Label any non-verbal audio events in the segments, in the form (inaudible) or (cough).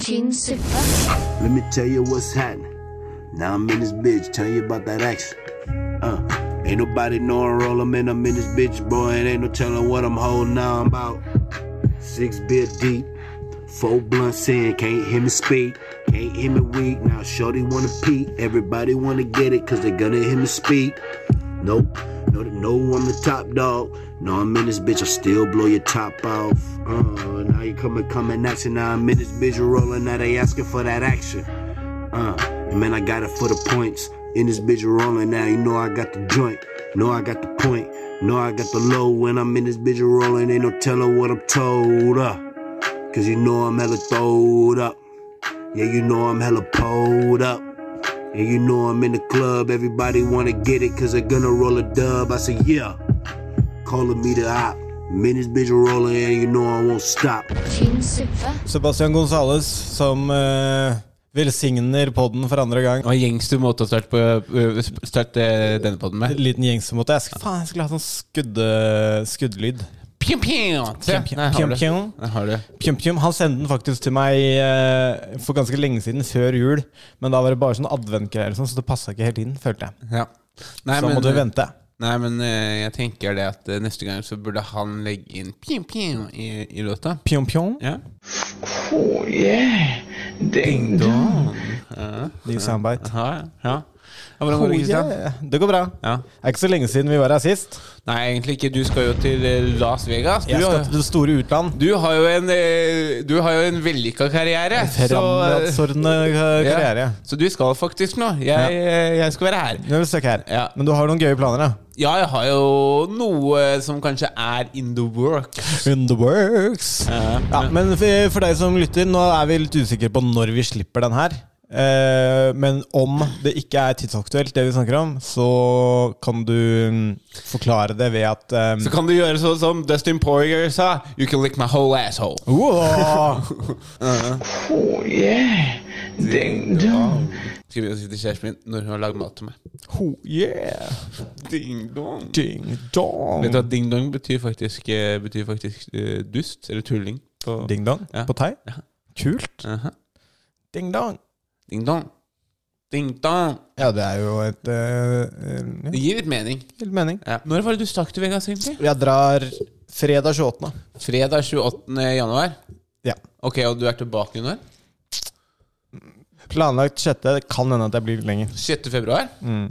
tynn suppe. Let me tell you what's happening. Now I'm in this bitch, tell you about that action. Uh, ain't nobody knowing roll I'm in, I'm in this bitch, boy. It ain't no telling what I'm holding now. I'm about six beer deep, four blunts in, can't hear me speak, can't hear me weak. Now shorty wanna peek, everybody wanna get it, cause they gonna hear me speak. Nope, no, no, I'm the top dog. No, I'm in this bitch, I still blow your top off. Uh, now you coming, coming action. Now I'm in this bitch, rolling. Now they asking for that action. Uh, and man, I got it for the points. In this bitch rolling now, you know I got the joint. Know I got the point. Know I got the low. When I'm in this bitch rolling, ain't no telling what I'm told. Uh, Cause you know I'm hella throwed up. Yeah, you know I'm hella pulled up. And you know I'm in the club. Everybody wanna get it, cause they're gonna roll a dub. I say, yeah. Calling me the op. I'm in this bitch rolling, and you know I won't stop. Tynn suppe. Sebastian Gonzales som eh, velsigner podden for andre gang. Det var en gangster måte å starte, på, øh, starte denne podden En med. liten gjengse mot deg. Jeg skal- Faen, jeg skulle hatt sånn skudde, skuddlyd. Pjum, pjum. Se, Pjum, pjum, der har du det. pjum, pjum. Der har du det. Pjum Pjum han sendte den faktisk til meg eh, for ganske lenge siden, før jul. Men da var det bare sånn adventgreier, og sånn, så det passa ikke helt inn, følte jeg. Ja. Nei, eh, Så da må du vente. Nei, men øh, jeg tenker det at øh, neste gang så burde han legge inn pjum, pjum i, i låta. Pjom Pjom. Ja. Oh yeah, ding dong. Ja. Ny soundbite. Ja, ja. Ja, Hvordan går det, Kristian? Oh, yeah. Det går bra. Ja. Det er ikke så lenge siden vi var her sist. Nei, egentlig ikke. Du skal jo til øh, Las Vegas. Du, Jeg skal har- til det store utland. du har jo en, øh, du har jo en vellykka karriere. Så, eh, Fremadsordende eh, Ja. karriere. så du skal faktisk nå. Jeg, øh, jeg skal være her. Nå er vi stuck her. Ja. Men du har noen gøye planer, da? Ja, jeg har jo noe som kanskje er in the work. In the works. Ja, Ja, men for for deg som lytter, nå er vi litt usikre på når vi slipper den her. Eh, men om det ikke er tidsaktuelt, det vi snakker om, så kan du mm, forklare det ved at eh, Så kan du gjøre sånn som Dustin Poirier sa. You can lick my whole asshole. Wow! Oh yeah, ding dong. Skal vi si til kjæresten min når hun har lagd mat til meg. Ho, yeah! Ding dong. Ding Vet du dong! at ding dong betyr faktisk, eh, betyr faktisk eh, dust eller tulling? På Ding dong Ja. på thai? Ja. Kult. Aha. Ding dong. Ding dong. Ding dong. Ja, det er jo et uh, Det gir litt mening. Helt mening. Ja. Når var det du stakk til Vegas, egentlig? Jeg drar fredag 28. Fredag 28. januar. Ja. Ok, og du er tilbake når? Planlagt sjette. Det kan hende at jeg blir litt lenger. 6. februar. Mm.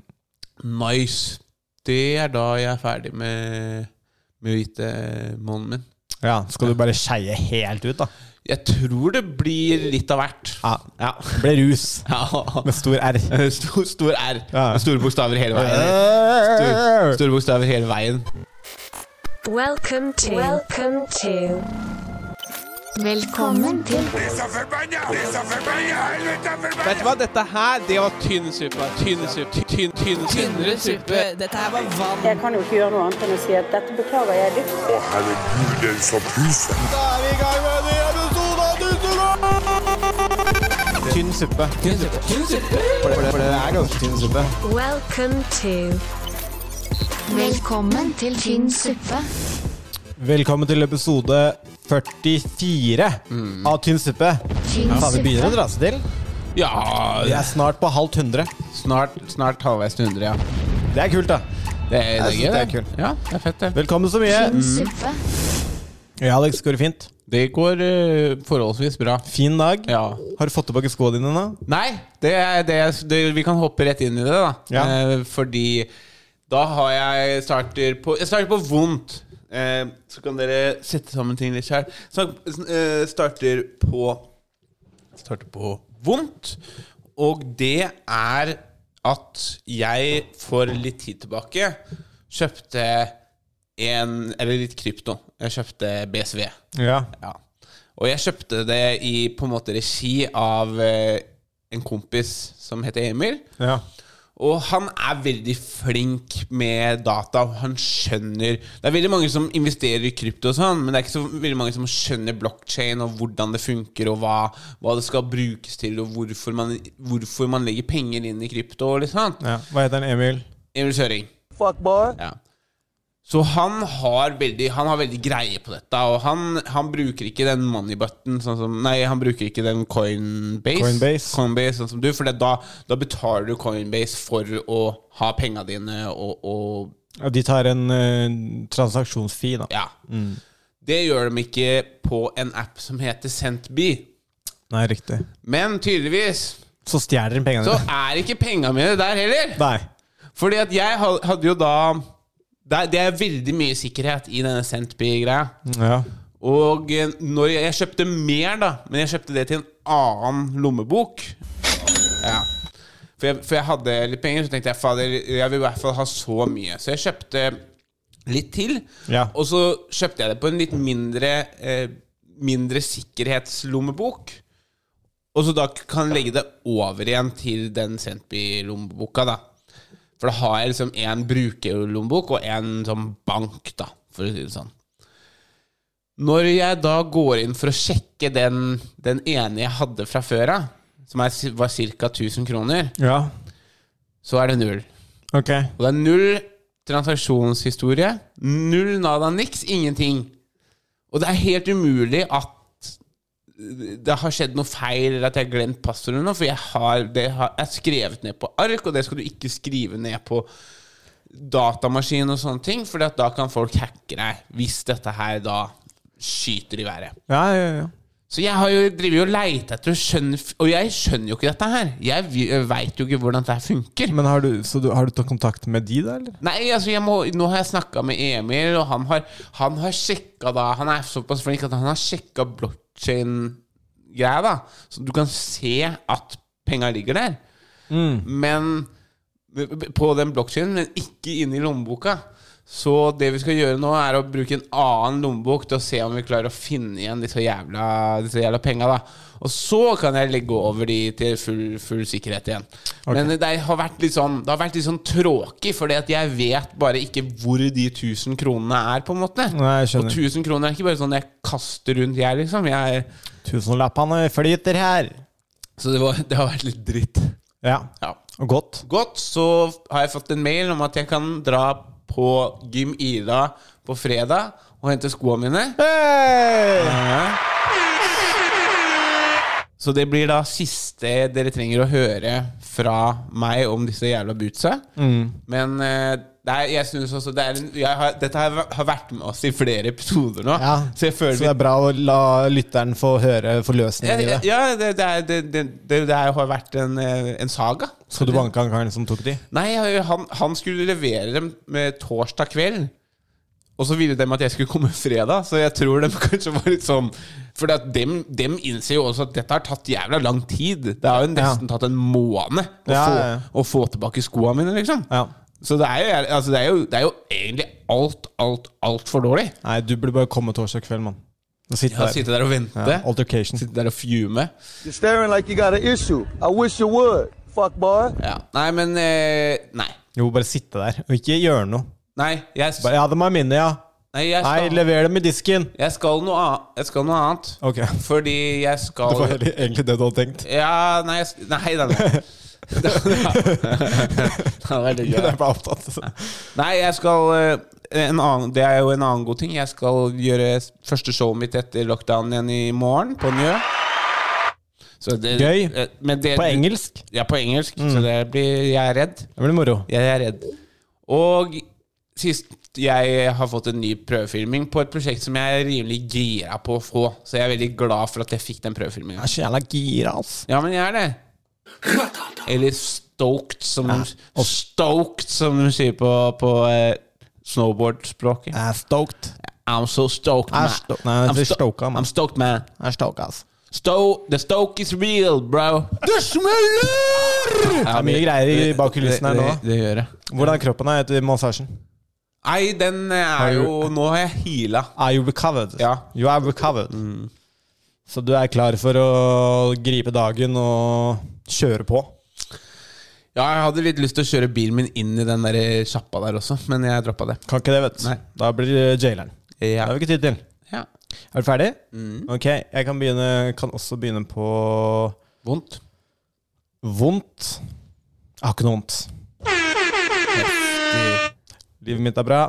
Nice. Det er da jeg er ferdig med, med hvite månen min. Ja, Skal du bare skeie helt ut, da? Jeg tror det blir litt av hvert. Ja. Ja. Det ble rus Ja. med stor R. (laughs) Stor, stor R. Ja. Med Store bokstaver hele veien. Stor, Stor- stor- store bokstaver hele veien. Welcome to. Welcome to. Velkommen til Vet du hva, dette her, det var tynn suppe. Tynn suppe. Tynn, tynn, tynnere suppe. Dette her var vann. Jeg kan jo ikke gjøre noe annet enn å si at dette beklager jeg dypt. Da er vi i gang med en ny episode av Dusseland! Tynn suppe. Tynn suppe. For det, for det er ganske tynn suppe. Welcome to. Velkommen til tynn suppe. Velkommen til episode 44 av Tynn suppe. Tynn Da vi begynner å suppe. dra seg til. Vi Ja, er snart på halvt hundre. snart, snart halvveis til 100, ja. Det er kult, da. Det er, det er synes gøy, det er det. kult. Ja, det er fett, det. Velkommen så mye. Tynn suppe. Mm. Ja, Alex, går det fint? Det går eh, forholdsvis bra. Fin dag. Ja. Har du fått tilbake skoene dine nå? Nei, det er, det er, det, vi kan hoppe rett inn i det, da. Ja. Eh, fordi da har jeg starter på Jeg starter på vondt. Eh, så kan dere sette sammen ting litt sjøl. Eh, starter på Starter på vondt. Og det er at jeg for litt tid tilbake kjøpte en Eller litt krypto. Jeg kjøpte BSV. Ja. Ja. Og jeg kjøpte det i på en måte regi av eh, en kompis som heter Emil. ja. Og han er veldig flink med data. Han skjønner Det er veldig mange som investerer i krypto, og sånn men det er ikke så veldig mange som skjønner blokkjede og hvordan det funker, og hva, hva det skal brukes til, og hvorfor man, hvorfor man legger penger inn i krypto. Og litt sånn. Hva heter han? Emil? Emil Søring. Ja. Så han har veldig, han har veldig greie på dette, og han, han bruker ikke den money button sånn som, Nei, han bruker ikke den Coinbase, Coinbase. Coinbase, sånn som du, for det, da, da betaler du Coinbase for å ha penga dine og, og Ja, De tar en eh, transaksjonsfee, da. Ja. Mm. Det gjør de ikke på en app som heter Sentby. Nei, riktig. Men tydeligvis Så stjeler de pengene så dine. er ikke penga mine der heller. Nei. Fordi at jeg ha- hadde jo da Det er, det er veldig mye sikkerhet i denne Sentby-greia. Ja. Og eh, når jeg, jeg kjøpte mer, da, men jeg kjøpte det til en annen lommebok Ja. For jeg, for jeg hadde litt penger, så tenkte jeg fader, jeg vil i hvert fall ha så mye. Så jeg kjøpte litt til, Ja. og så kjøpte jeg det på en litt mindre, eh, mindre sikkerhetslommebok. Og så da kan jeg legge det over igjen til den Sentby-lommeboka, da. For da har jeg liksom én brukerlommebok og én sånn bank, da, for å si det sånn. Når jeg da går inn for å sjekke den, den ene jeg hadde fra før av, som er, var ca. 1000 kroner, ja. så er det null. Ok. Og det er null transaksjonshistorie. Null nada niks. Ingenting. Og det er helt umulig at det har skjedd noe feil, eller at jeg har glemt passordet nå, for jeg har, det har jeg har skrevet ned på ark, og det skal du ikke skrive ned på datamaskin og sånne ting, for da kan folk hacke deg, hvis dette her da skyter i været. Ja, ja, ja. Så jeg har jo drivet og leita etter å skjønne Og jeg skjønner jo ikke dette her. Jeg veit jo ikke hvordan dette her funker. Men har du, så du, har du tatt kontakt med de, da, eller? Nei, altså jeg må, Nå har jeg snakka med Emil, og han har, han har sjekka da Han er såpass flink at han har sjekka blockchain-greia, da. Så du kan se at penga ligger der. Mm. Men på den blockchainen, men ikke inni lommeboka. Så det vi skal gjøre nå, er å bruke en annen lommebok til å se om vi klarer å finne igjen disse jævla, disse jævla penga, da. Og så kan jeg legge over de til full, full sikkerhet igjen. Men det har vært litt sånn Det har vært litt sånn tråkig, for jeg vet bare ikke hvor de 1000 kronene er, på en måte. Nei, jeg Og skjønner. 1000 kroner er ikke bare sånn jeg kaster rundt, jeg, liksom. Jeg, Tusenlappene flyter her. så det, var, (laughs) det har vært litt dritt. Ja. Ja Og godt. godt, så har jeg fått en mail om at jeg kan dra på Gym Ila på fredag og hente skoene mine. Så det blir da siste dere trenger å høre fra meg om disse jævla bootsa. Mm. Men eh, det er, jeg synes også det er en, jeg har, Dette har væ- har vært med oss i flere episoder nå. Ja. Så jeg føler Så det er bra å la lytteren få høre ja, forløsningen i ja, det. ja, det, det, er, det, det, det, det har vært en, eh, en saga. Så du banka han karen som tok de? Nei, han, han skulle levere dem med torsdag kveld. Og så ville dem at jeg skulle komme fredag, så jeg tror dem (laughs) kanskje var litt sånn For at dem, dem innser jo også at dette har tatt jævla lang tid. Det har jo nesten tatt en måned å, Ja, få, ja, ja. å få tilbake skoa mine, liksom. Ja. Så det er, jo, altså det, er jo, det er jo egentlig alt, alt, altfor dårlig. Nei, du burde bare komme torsdag kveld, mann. Og sitte Jeg har der. sittet der og ventet. Ja, altercation. Sitte der og fume. You're staring like you got an issue. I wish you would, fuck boy. Ja. Nei, men eh, Nei. Jo, bare sitte der, og ikke gjøre noe. Nei, jeg, Bare, ja, det må jeg minne, ja. nei, jeg Nei, skal, lever dem i disken. jeg skal, noe, annet- jeg skal noe annet. Ok. (laughs) Fordi jeg skal Det var heller- egentlig det du hadde tenkt. Ja, nei, jeg, sk- nei, (laughs) (laughs) nei, nei. Det (laughs) hadde vært Det er gøy. bare opptatt. Nei, jeg skal eh, en annen, Det er jo en annen god ting. Jeg skal gjøre s- første showet mitt etter lockdown igjen i morgen, på Njø. Så det- Gøy. eh, Men det, På engelsk. Mm. Ja, på engelsk. Så det blir Jeg er redd. Det blir moro. Jeg er redd. Og sist jeg har fått en ny prøvefilming på et prosjekt som jeg er rimelig gira på å få. Så jeg er veldig glad for at jeg fikk den prøvefilminga. Jeg er så jævla gira, ass. Ja, men jeg er det. Eller stoked, som, de, stoked, som de sier på, på eh, snowboardspråket. Jeg er stoked. I'm so stoked, Jeg man. er sto- Nei, I'm, det er stoka, man. I'm stoked, man. Jeg er stoked, ass. Sto the stoke is real, bro. Det smeller! Det er mye greier i bak kulissene her nå. Det, det, det gjør det. Hvordan kroppen er etter massasjen? Nei, den eh, er jo Nå har jeg heala. Are you recovered? Ja. You are recovered. Så du er klar for å gripe dagen og kjøre på? Ja, jeg hadde litt lyst til å kjøre bilen min inn i den der eh, sjappa der også, men jeg droppa det. Kan ikke det, vet du. Nei. Da blir det jaileren. Det Ja. har vi ikke tid til. ja. Er du ferdig? Ok, jeg kan, begynne, kan også begynne på Vondt. vondt. Jeg har ikke noe vondt. Livet mitt er bra.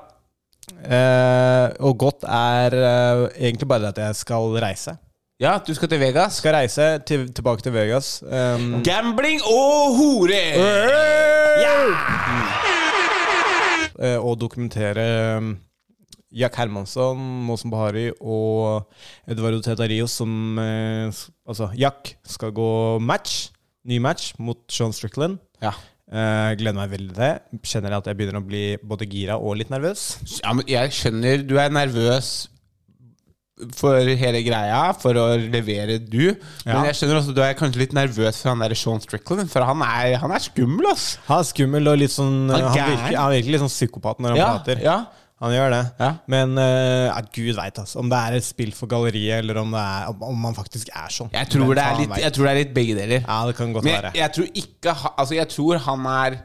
Eh, og godt er eh, egentlig bare at jeg skal reise. Ja, du skal til Vegas. Skal reise til, tilbake til Vegas. Um, Gambling og hore! eh, og dokumentere um, Jack Hermansson, Mohsen Bahari og Eduardo Teta Rios som eh, s- Altså, Jack skal gå match. Ny match mot Sean Strickland. Ja. Eh, gleder meg veldig til det. Kjenner at jeg begynner å bli både gira og litt nervøs. ja, men jeg skjønner du er nervøs for hele greia, for å levere du. Men Ja. jeg skjønner også du er kanskje litt nervøs for han der Sean Strickland, for han er, han er skummel, ass. Han er skummel og litt sånn Han Han, er gæren. virker, han virker litt sånn psykopat når han Ja, prater. ja. Han gjør det. Ja. Men eh, ja, gud veit altså, om det er et spill for galleriet, eller om, det er, om, om han faktisk er sånn. Jeg tror, Hvem det er faen litt, vet. jeg tror det er litt begge deler. Ja, det kan godt Men jeg, være. jeg tror ikke ha- Altså, jeg tror han er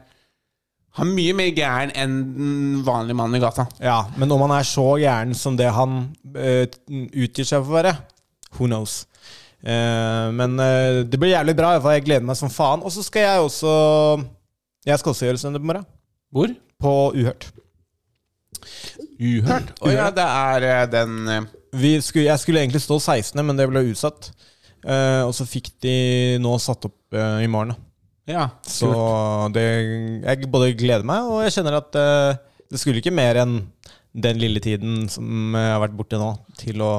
Han er mye mer gæren enn den vanlige mannen i gata. Ja, Men om han er så gæren som det han eh, utgir seg for å være, who knows. Eh, men eh, det blir jævlig bra. i hvert fall. Jeg gleder meg som faen. Og så skal jeg også Jeg skal også gjøre standup i morgen. Hvor? På Uhørt. Uhørt. Å ja, det er eh, den eh, vi skulle, jeg skulle egentlig stå 16., men det ble utsatt. Eh, og så fikk de nå satt opp eh, i morgen. da. Ja. Så det, jeg både gleder meg, og jeg kjenner at eh, det skulle ikke mer enn den lille tiden som eh, jeg har vært borti nå, til å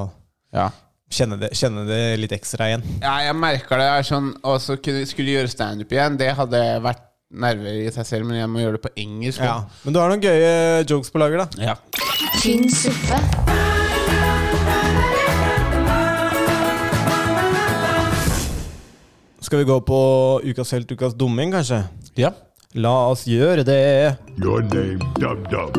ja. kjenne det, kjenne det litt ekstra igjen. Ja, jeg merka det er sånn Og så kunne- skulle gjøre standup igjen. Det hadde vært nerver i seg selv, men jeg må gjøre det på engelsk. nå. Ja. Men du har noen gøye jokes på lager, da. Ja. tynn suppe, Skal vi gå på ukas helt, ukas dumming, kanskje? ja. La oss gjøre det. Your name, Dub Dub.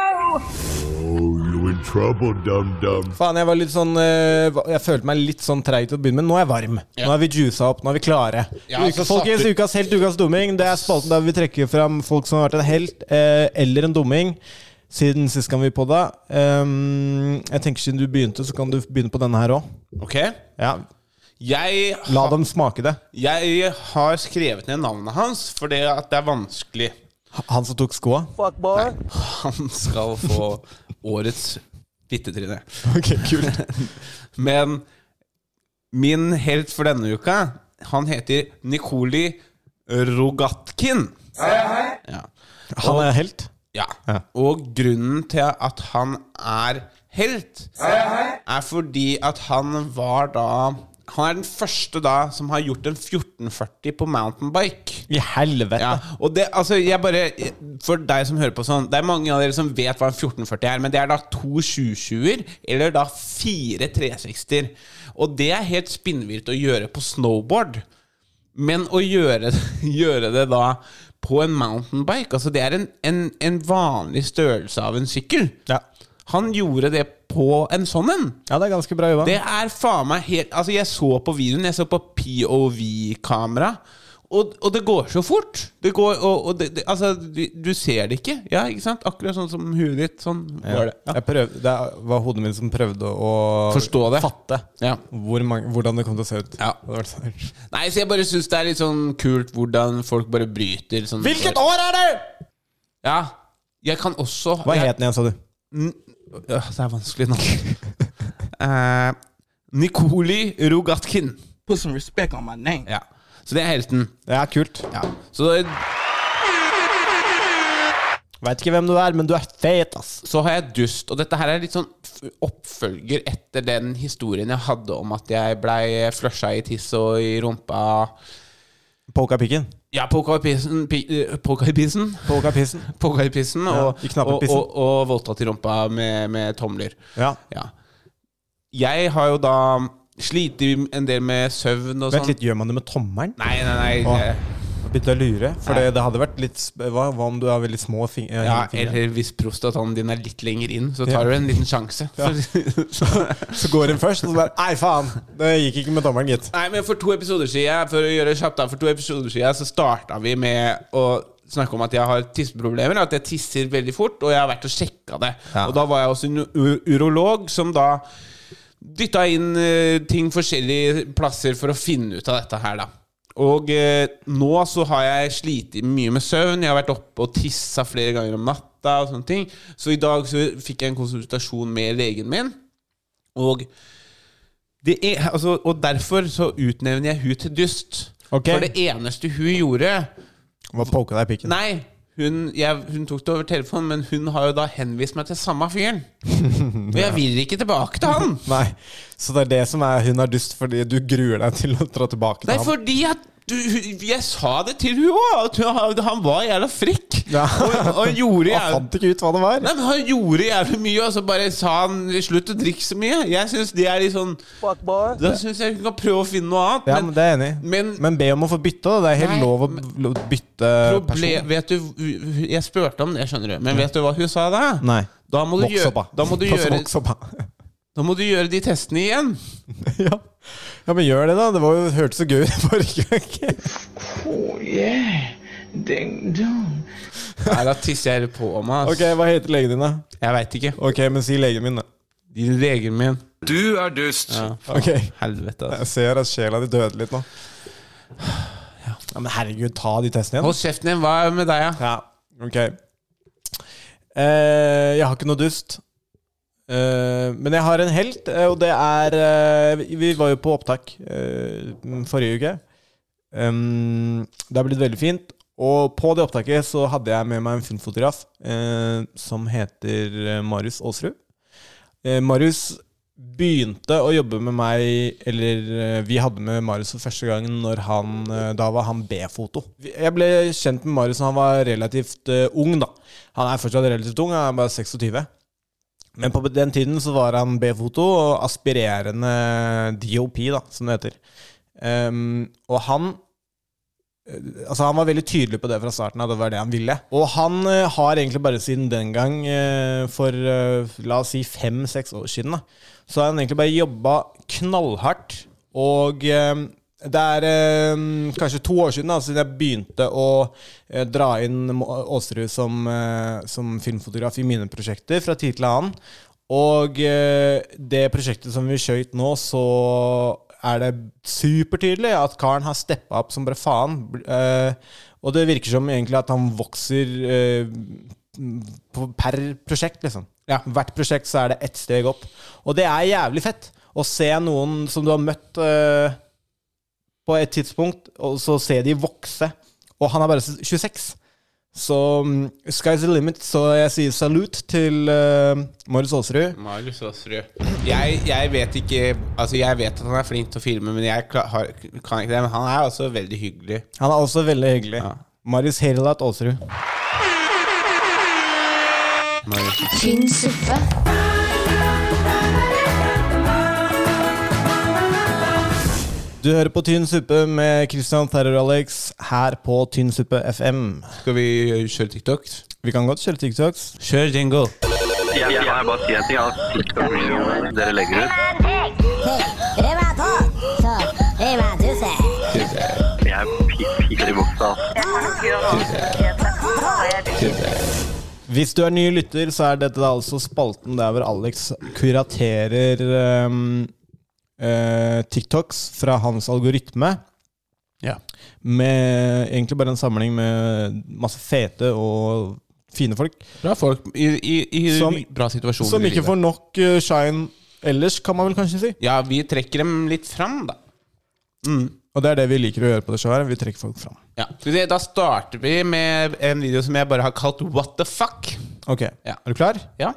Oh, you in trouble, Dum Dum. Faen, jeg var litt sånn eh, va- Jeg følte meg litt sånn treig til å begynne med. Nå er jeg varm. Ja. Nå er vi juica opp. Nå er vi klare. Ja, altså, Ukas- så satt folkens, du- ukas helt, ukas dumming. Det er spalten der vi trekker fram folk som har vært en helt eh, eller en dumming. Siden sist gang vi podda. Um, jeg tenker Siden du begynte, så kan du begynne på denne her òg. Ok. Ja. Jeg, La ha, dem smake det. jeg har skrevet ned navnet hans fordi at det er vanskelig. H- Han som tok skoa. Fuck, boy. Han skal få årets fittetryne. Ok, kult (laughs) Men min helt for denne uka, han heter Nikoli Rogatkin. Ja. Han er helt. Ja. Ja. Og grunnen til at han er helt, er fordi at han var da Han er den første da som har gjort en 1440 på mountainbike. I helvete. Ja, og det, altså, jeg bare For deg som hører på sånn Det er mange av dere som vet hva en 1440 er, men det er da to 720-er, eller da fire 360-er. Og det er helt spinnvilt å gjøre på snowboard. Men å gjøre, (laughs) gjøre det da på en mountainbike Altså, det er en, en, en vanlig størrelse av en sykkel. Ja. Han gjorde det på en sånn en. Ja, det er ganske bra jobba. Det er faen meg helt Altså, jeg så på videoen. Jeg så på POV-kamera. Og, og det går så fort. Det går, og, og det, det, altså, du, du ser det ikke. Ja, ikke sant? Akkurat sånn som huet ditt. Sånn Ja. var det. Ja. Jeg prøv- det var hodet mitt som prøvde å Forstå det. fatte Ja. hvor mange, hvordan det kom til å se ut. Ja. Det hadde vært så- Nei, så jeg bare syns det er litt sånn kult hvordan folk bare bryter sånn Hvilket år er det?! Ja. Jeg kan også Hva jeg, het den igjen, sa du? Øh, Det er vanskelig nå. (laughs) Eh, Nikoli Rogatkin. put some respect on my name. Ja. Så det er helten. Det er kult. Ja. Så Veit ikke hvem du er, men du er fet, ass. så har jeg dust, og dette her er litt sånn f- oppfølger etter den historien jeg hadde om at jeg blei flusha i tiss og i rumpa Poka pikken. Ja, poka i pissen pi, eh, Poka i pissen? Poka pissen. Poka i pissen og, i knappen og, pissen. og, og voldtatt i rumpa med, med tomler. Ja. Ja. Jeg har jo da slitt en del med søvn og Vent sånn. litt, gjør man det med tommelen? Nei, nei, nei. Å. eh, Begynte å lure. For Nei. det, det hadde vært litt sp- hva, hva om du har veldig små fing eh, Ja, fingre? eller hvis prostataen din er litt lenger inn, så Ja. tar du en liten sjanse. (laughs) Så går hun først, og så bare Nei, faen! Det gikk ikke med tommelen, gitt. Nei, men for to episoder siden For å gjøre det kjapt da For to episoder siden Så startet vi med Å snakke om at jeg har tisseproblemer At jeg tisser veldig fort Og jeg har vært og sjekket det Ja. Og da var jeg hos en u- urolog Som da Dyttet inn eh, ting forskjellige plasser For å finne ut av dette her da Og eh, nå så har jeg slitt mye med søvn. Jeg har vært oppe og tissa flere ganger om natta. og sånne ting Så i dag så fikk jeg en konsultasjon med legen min. Og, det er, altså, og derfor så utnevner jeg hun til dust. Ok. For det eneste hun gjorde, Må poke deg i pikken. Nei, hun, jeg, hun tok det over telefonen, men hun har jo da henvist meg til samme fyren. Og jeg vil ikke tilbake til han! Nei. Så det er det som er hun er dust, fordi du gruer deg til å dra tilbake til Nei, ham. fordi at du, jeg sa det til hun òg, at hun- han var jævla frekk. (laughs) Ja. Og, og gjorde (laughs) Han jævla fant ikke ut hva det var. Nei, men Han gjorde jævlig mye, og så bare sa han 'slutt å drikke så mye'. Jeg synes det er litt sånn Fuck boy. Da syns jeg hun kan prøve å finne noe annet. Ja, men Det er jeg enig i. men, Men be om å få bytte. da. Det er helt Nei, lov å lo- bytte Proble- person. vet du, Jeg spurte om det, skjønner du. Men vet du hva hun sa da? Nei. Da må du, Voks gjøre, opp, da. da må du Ta så gjøre voks opp, da. Da må du gjøre de testene igjen. (laughs) ja. ja, men gjør det, da. Det var jo, hørtes så gøy ut forrige gang. (laughs) Oh yeah, ding dong. Nei, da tisser jeg på meg. ass. ok, Hva heter legen din, da? Jeg veit ikke. Ok, men si legen min, da. De legen min. Du er dust. Ja, faen. Ok, Helvete, ass. Jeg ser at sjela di døde litt nå. (sighs) Ja, Men herregud, ta de testene igjen. Hold kjeften din. Hva er med deg, da? Ja, ok eh, Jeg har ikke noe dust. Eh, men jeg har en helt, eh, og det er eh, Vi var jo på opptak eh, forrige uke. Um, det har blitt veldig fint. Og på det opptaket så hadde jeg med meg en filmfotograf eh, som heter eh, Marius Aasrud. Eh, Marius begynte å jobbe med meg Eller eh, vi hadde med Marius for første gang når han, eh, da var han B-foto. Jeg ble kjent med Marius da han var relativt eh, ung. da Han er fortsatt relativt ung, han er bare 26. Men på den tiden så var han B-foto og aspirerende DOP, da, som det heter. Ehm, og han eh, Altså Han var veldig tydelig på det fra starten. At det var det han ville. Og han eh, har egentlig bare siden den gang, eh, for eh, la oss si fem-seks år siden, da, så har han egentlig bare jobba knallhardt. Og eh, det er eh, kanskje to år siden da, siden jeg begynte å eh, dra inn Mo- Aasrud som, eh, som filmfotograf i mine prosjekter fra tid til annen. Og eh, det prosjektet som vi skjøt nå, så er det supertydelig at karen har steppa opp som bare faen. Bl- eh, og det virker som egentlig at han vokser eh, på, per prosjekt, liksom. Hvert prosjekt så er det ett steg opp. Og det er jævlig fett å se noen som du har møtt eh, på et tidspunkt, og så se de vokse. Og han er bare 26. Så mm, sky's the limit, så jeg sier salut til uh, Marius Aasrud. Marius Aasrud. Jeg, jeg vet ikke Altså, jeg vet at han er flink til å filme, men jeg kla- har, kan ikke det. Men han er altså veldig hyggelig. Han er også veldig hyggelig. Ja. Marius Herilat Aasrud. Tynn suppe. Du hører på Tynn suppe med Christian Terror-Alex her på Tynn suppe FM. Skal vi kjøre TikTok? Vi kan godt kjøre TikToks. Kjør jingle. Jeg, jeg kan bare si en ting. Altså, TikTok-videoene dere legger ut Jeg er pi- piker i buksa. Hvis du er ny lytter, så er dette da altså spalten der hvor Alex kuraterer ehm, eh, TikToks fra hans algoritme. Ja. Med egentlig bare en samling med masse fete og fine folk. Bra folk i, i, i Som- bra situasjoner Som i ikke livet. får nok eh, shine ellers, kan man vel kanskje si. Ja, vi trekker dem litt fram, da. Og det er det vi liker å gjøre på det showet. her, Vi trekker folk fram. Ja. Skal vi se, Da starter vi med en video som jeg bare har kalt What the fuck? Ok, Ja. Er du klar? Ja.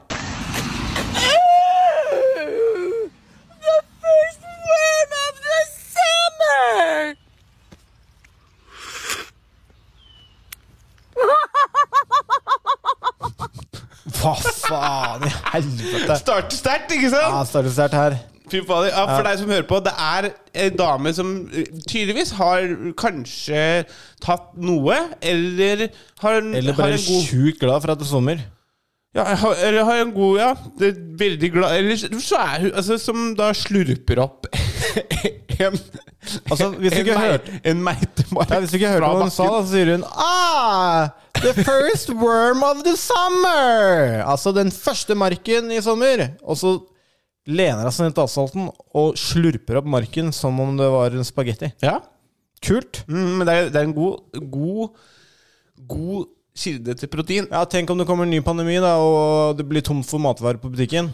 Hva faen i (laughs) helvete? Starter sterkt, ikke sant? Ja, starter sterkt her. Fy fader. Ja, for deg som hører på, det er en dame som eh, tydeligvis har kanskje tatt noe, eller har, en- Eller har bare en god sjukt glad for at det er sommer. ja, har, Eller har en god, ja. Det er veldig glad Eller så er hun altså, Som da slurper opp (laughs) en Altså, hvis du en ikke mei- hørte- En meitemark Ja, hvis du ikke hørte fra hva hun sa, så bakken. sier hun ah, The first worm of the summer! Altså den første marken i sommer. Og så lener hun seg ned til asfalten og slurper opp marken som om det var en spagetti. Ja. Kult. Mm, men det er, det er en god, god, god kilde til protein. Ja, Tenk om det kommer en ny pandemi, da, og det blir tomt for matvarer på butikken.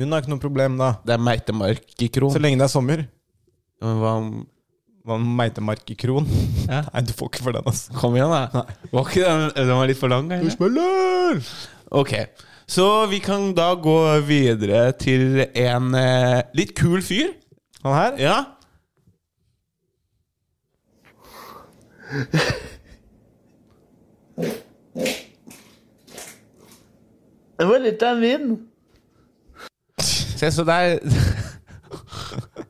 Hun har ikke noe problem da. Det er meitemarkikron. Så lenge det er sommer. Ja, Men hva om Hva med meitemarkekron? (laughs) Nei, du får ikke for den, altså. Kom igjen, da. Var ikke den, den var litt for lang, kanskje? Smeller! Ok. Så vi kan da gå videre til en eh, litt kul fyr. Han her? Ja. Det var litt av en vind. Se, så det er (laughs)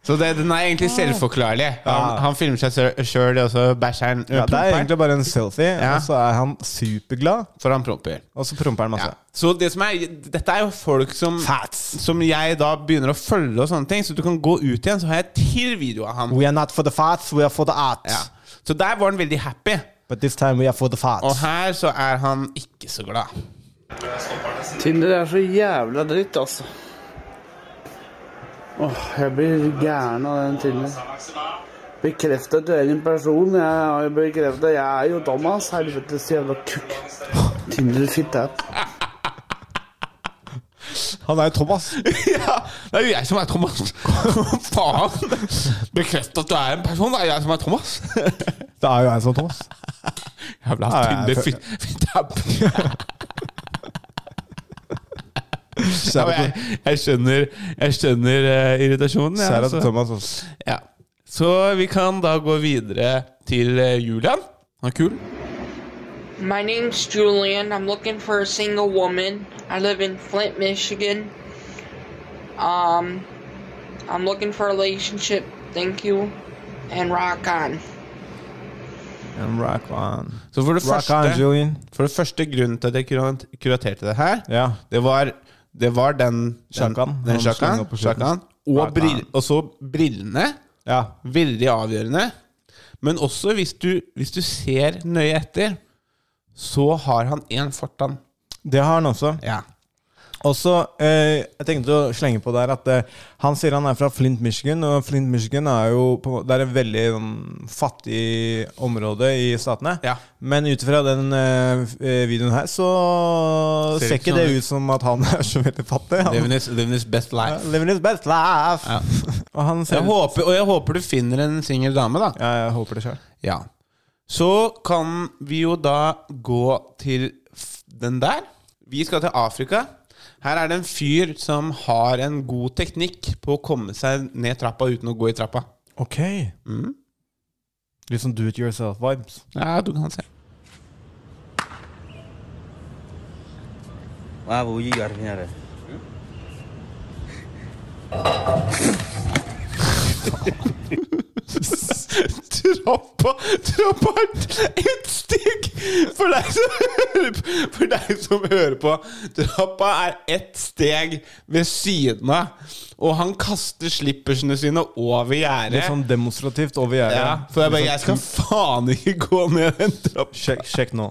Så det, den er egentlig selvforklarlig. Han, han filmer seg sjøl, og så bæsjer han. Ja, det er egentlig bare en selfie, Ja. og så er han superglad, For han promper. og så promper han masse. Ja. Så det som er, dette er jo folk som Som jeg da begynner å følge, og sånne ting så du kan gå ut igjen, så har jeg til video av han. We are not for the fats, we are for the arts. Ja. Så der var han veldig happy. But this time we are for the fats. Og her så er han ikke så glad. Tinder er så jævla dritt, altså. Åh, jeg blir gæren av den Tinder. Bekreftet til egen person. Jeg har jo bekreftet. Jeg er jo Thomas. Helvetes jævla kukk. Tinder-fitte. Han er jo Thomas. (laughs) ja, det er jo jeg som er Thomas. (laughs) Faen! Bekreft at du er en person. Det er jeg som er (laughs) Thomas. Det er jo jeg som er Thomas. Jævla Ja, jeg tynne føler- fitt- (laughs) fittapp. Ja, men Kjære, jeg, jeg skjønner, jeg skjønner eh, irritasjonen. Ja, kjære altså. til Thomas. ass. ja. Så vi kan da gå videre til eh, Julian. Han er kul. My name's Julian. I'm looking for a single woman. I live in Flint, Michigan. Um, I'm looking for a relationship. Thank you. And rock on. And rock on. Så for det, Rock on, første, Julian. for det første grunnen til at jeg kurat- kuraterte det her, Ja. det var, det var den Sjakan. Den, den Han slo sjakan, den opp på slutten. sjakan og, Sjakan. brill, og så brillene. ja. Veldig avgjørende. Men også hvis du, hvis du ser nøye etter, så har han én fortann. Det har han også. Ja. Og så, eh, jeg tenkte å slenge på der at eh, han sier han er fra Flint, Michigan. Og Flint, Michigan er jo på, det er et veldig sånn, fattig område i statene. Ja. Men ut fra den eh, f- eh, videoen her, så Ser ser ikke ikke sånn det ut som at han (laughs) er så veldig fattig. Han, Living his, living his best life. Living his best life! Ja. (laughs) Og han Jeg ser håper, og jeg håper du finner en singel dame, da. ja, jeg håper det sjøl. Ja. Så kan vi jo da gå til f- den der. Vi skal til Afrika. Her er det en fyr som har en god teknikk på å komme seg ned trappa uten å gå i trappa. Ok. Mm. Litt sånn do it yourself-vibes. Ja, du kan se. Trappa Trappa er ett steg! For deg som hører på, for deg som hører på Trappa er ett steg ved siden av. Og han kaster slippersene sine over gjerdet. Litt sånn demonstrativt over gjerdet. ja, Liksom. for jeg bare Litt Jeg sånn, skal faen ikke gå ned den trappa. Sjekk, sjekk nå.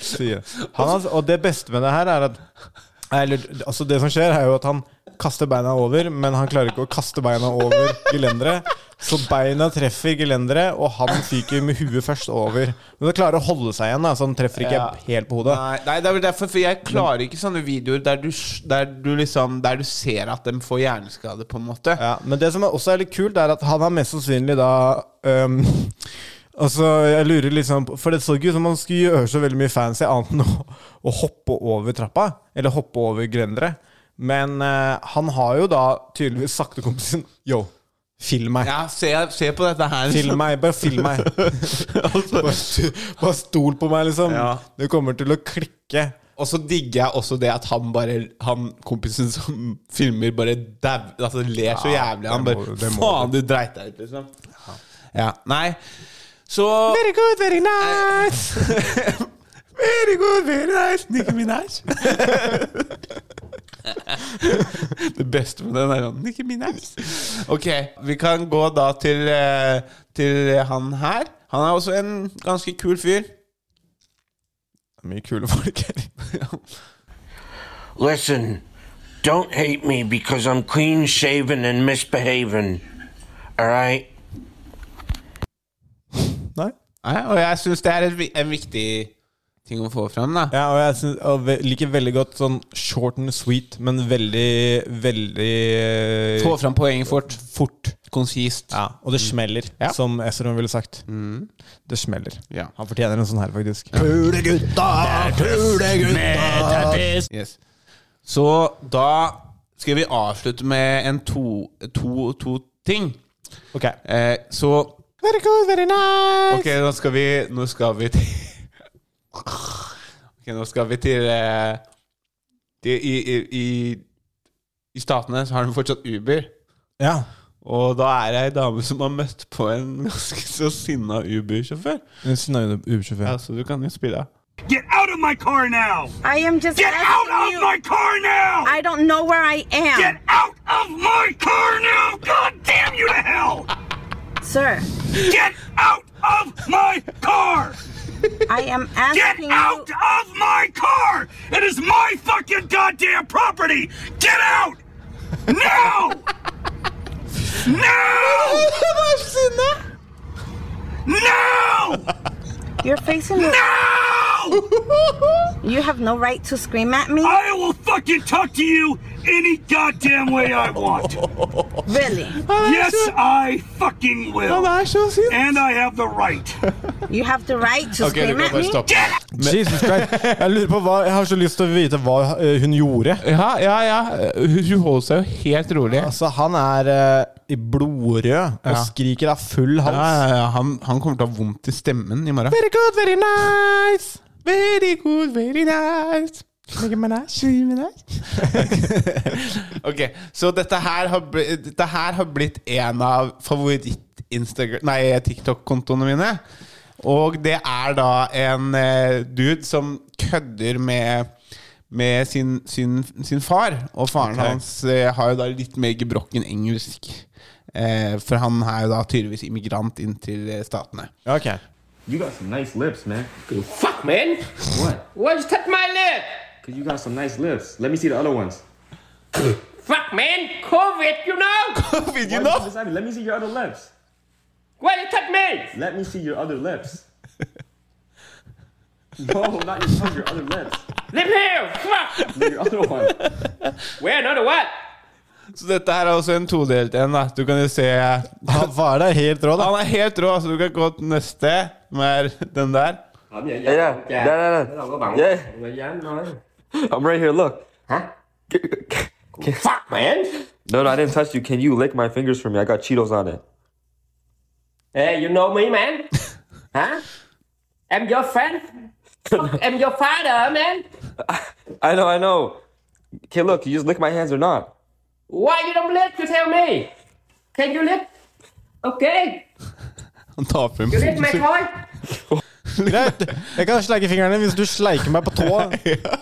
sier. Han, har- og det beste med det her er at eller, altså Det som skjer, er jo at han kaster beina over, men han klarer ikke å kaste beina over gelenderet. Så beina treffer gelenderet, og han fyker med huet først over. Men han klarer å holde seg igjen, da, så han treffer ikke Ja. helt på hodet. Nei, nei, det er vel derfor For jeg klarer ikke sånne videoer der du, s- der du liksom Der du ser at de får hjerneskade, på en måte. Ja, men det som er også er litt kult, er at han er mest sannsynlig da øhm, (laughs) Altså, jeg lurer liksom på- For det så ikke ut som han skulle gjøre så veldig mye fancy annet enn å, å hoppe over trappa. Eller hoppe over grendere. Men eh, han har jo da tydeligvis sagt til kompisen Yo, film meg. Ja, se, se på dette her. Film meg, bare film (laughs) meg. bare, st- bare stol på meg, liksom. Altså. Ja. Det kommer til å klikke. Og så digger jeg også det at han bare Han kompisen som filmer, bare dau Altså ler så jævlig. Han det bare må du- det må Faen, du dreit deg ut, liksom. Ja. Nei, så Very good, very nice! (laughs) Very good, very nice, Nicki Minaj. (laughs) det beste med den er sånn Nicki (laughs) Minaj. Ok, vi kan gå da til, eh, til han her. Han er også en ganske kul fyr. Mye kule folk her. (laughs) Listen, don't hate me because I'm clean shaven and misbehaving. All right? Nei, og jeg syns det er et vi- en viktig ting å få fram, da. Ja, og jeg syns- og ve- liker veldig godt sånn short and sweet, men veldig, veldig Få fram Mm. poenget fort. Fort. Konsist. Ja, og det smeller, som Esrom ville sagt. Mm. Det smeller. Han fortjener en sånn her, faktisk. Kule gutta, Ah, kule gutta. Yes. Så da skal vi avslutte med en to, to, to ting. Ok. Eh, så Very good, very nice! Ok, nå skal vi Nå skal vi til Ok, nå skal vi til, eh, til i, i, i, I Statene så har de fortsatt Uber. Ja. Og da er det ei dame som har møtt på en ganske så sinna Uber-sjåfør. En sinna Uber-sjåfør. Ja, så du kan jo spille av. Get out of my car now! I am just Get out asking of you. my car now! I don't know where I am. Get out of my car now! God damn you to hell! Sir, Get out of my car! I am Get asking out of my car! It is my fucking goddamn property! Get out! Now! now! Now! You're facing the. No! You have no right to scream at me. I will fucking talk to you any goddamn way I want. Really? Yes, I fucking will. And I have the right. You have the right to Ok, du scream kan at bare me. stoppe. Jesus Christ. Jeg lurer på hva Jeg har så lyst til å vite hva eh, hun gjorde. Ja, ja, ja. Hun holder seg jo helt rolig. Altså, han er eh, i blodrød og Ja. skriker av full hals. Ja, ja, ja. Han, han kommer til å ha vondt i stemmen i morgen. Very good, very nice! Very good, very nice! Legger meg nær, skriver meg nær. Ok, Så dette her har, bli- dette her har blitt en av favoritt-Instagram... Nei, TikTok-kontoene mine. Og det er da en eh, dude som kødder med med sin, sin, sin far. Og faren Ok. hans eh, har jo da litt mer gebrokken engelsk. Eh, for han er jo da tydeligvis immigrant inn til eh, Statene. Ok. You got some nice lips, man. Fuck, man! What? Why'd you touch my lip? Cause you got some nice lips. Let me see the other ones. Fuck, man! COVID, you know? COVID, Why you beside me? Let me see your other lips. Why'd you touch me? Let me see your (laughs) other lips. no, not your tongue, your other lips. Live here! Fuck! No, your other one. Where another what? Så dette her er også en todelt en. da Du kan jo se Han faren er helt rå, da. Han er helt rå, så du kan gå til neste med den der. Yeah, yeah, yeah, yeah, yeah. I'm right here. Look. Huh? Fuck, man. No, no, I didn't touch you. Can you lick my fingers for me? I got Cheetos on it. Hey, you know me, man? huh? I'm your friend. Fuck, I'm your father, man. I know, I know. Okay, look. You just lick my hands or not? Why you don't live to tell me? Can you live? Okay. Han tar frem You live my (laughs) toy? Greit. Jeg kan sleike fingrene hvis du sleiker meg på tåa. (laughs)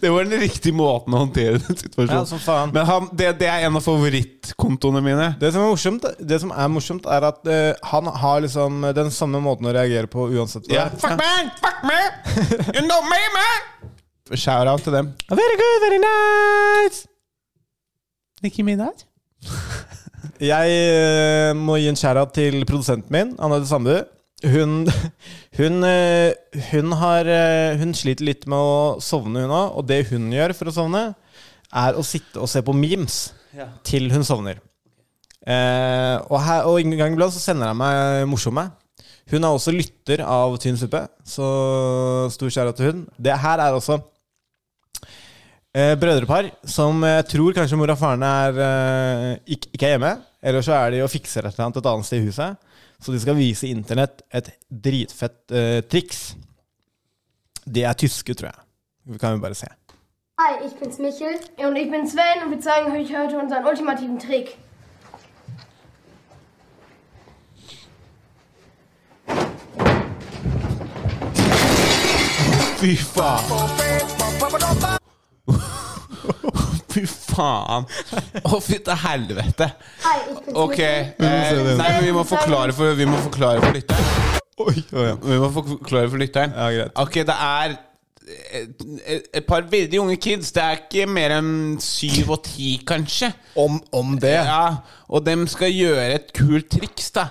Det var den riktige måten å håndtere den situasjonen Ja, som faen. Men han, det, det er en av favorittkontoene mine. Det som er morsomt, det som er, morsomt er at eh, han har liksom den samme måten å reagere på uansett. hva Ja. det er. Fuck man! Fuck man! You know me, man! Shout-out til dem. Very good, very nice! Nikki Minaj? (laughs) Jeg eh, må gi en skjæra til produsenten min, Anette Sandbu. Hun, hun, eh, hun, har, eh, hun sliter litt med å sovne, hun òg. Og det hun gjør for å sovne, er å sitte og se på memes Ja. til hun sovner. Eh, og, her, og en gang iblant så sender hun meg morsomme. Hun er også lytter av Tynn suppe, så stor skjæra til hun. Det her er altså også Eh, brødrepar som jeg tror kanskje mor og faren er, eh, ikke, ikke er hjemme. Eller så er de og fikser et eller annet et annet sted i huset. Så de skal vise internett et dritfett eh, triks. De er tyske, tror jeg. Vi kan jo bare se. Hi, ich bin's Michel und ich bin Sven und wir zeigen euch heute unseren ultimativen Trick. Fy faen. Fy faen. Å, fy til helvete. Ok. Eh, nei, men vi må forklare for, vi må forklare for lytteren. Vi må forklare for lytteren. Ok, det er et, et- et par veldig unge kids. Det er ikke mer enn syv og ti, kanskje. Om, det. Ja, Og dem skal gjøre et kult triks, da.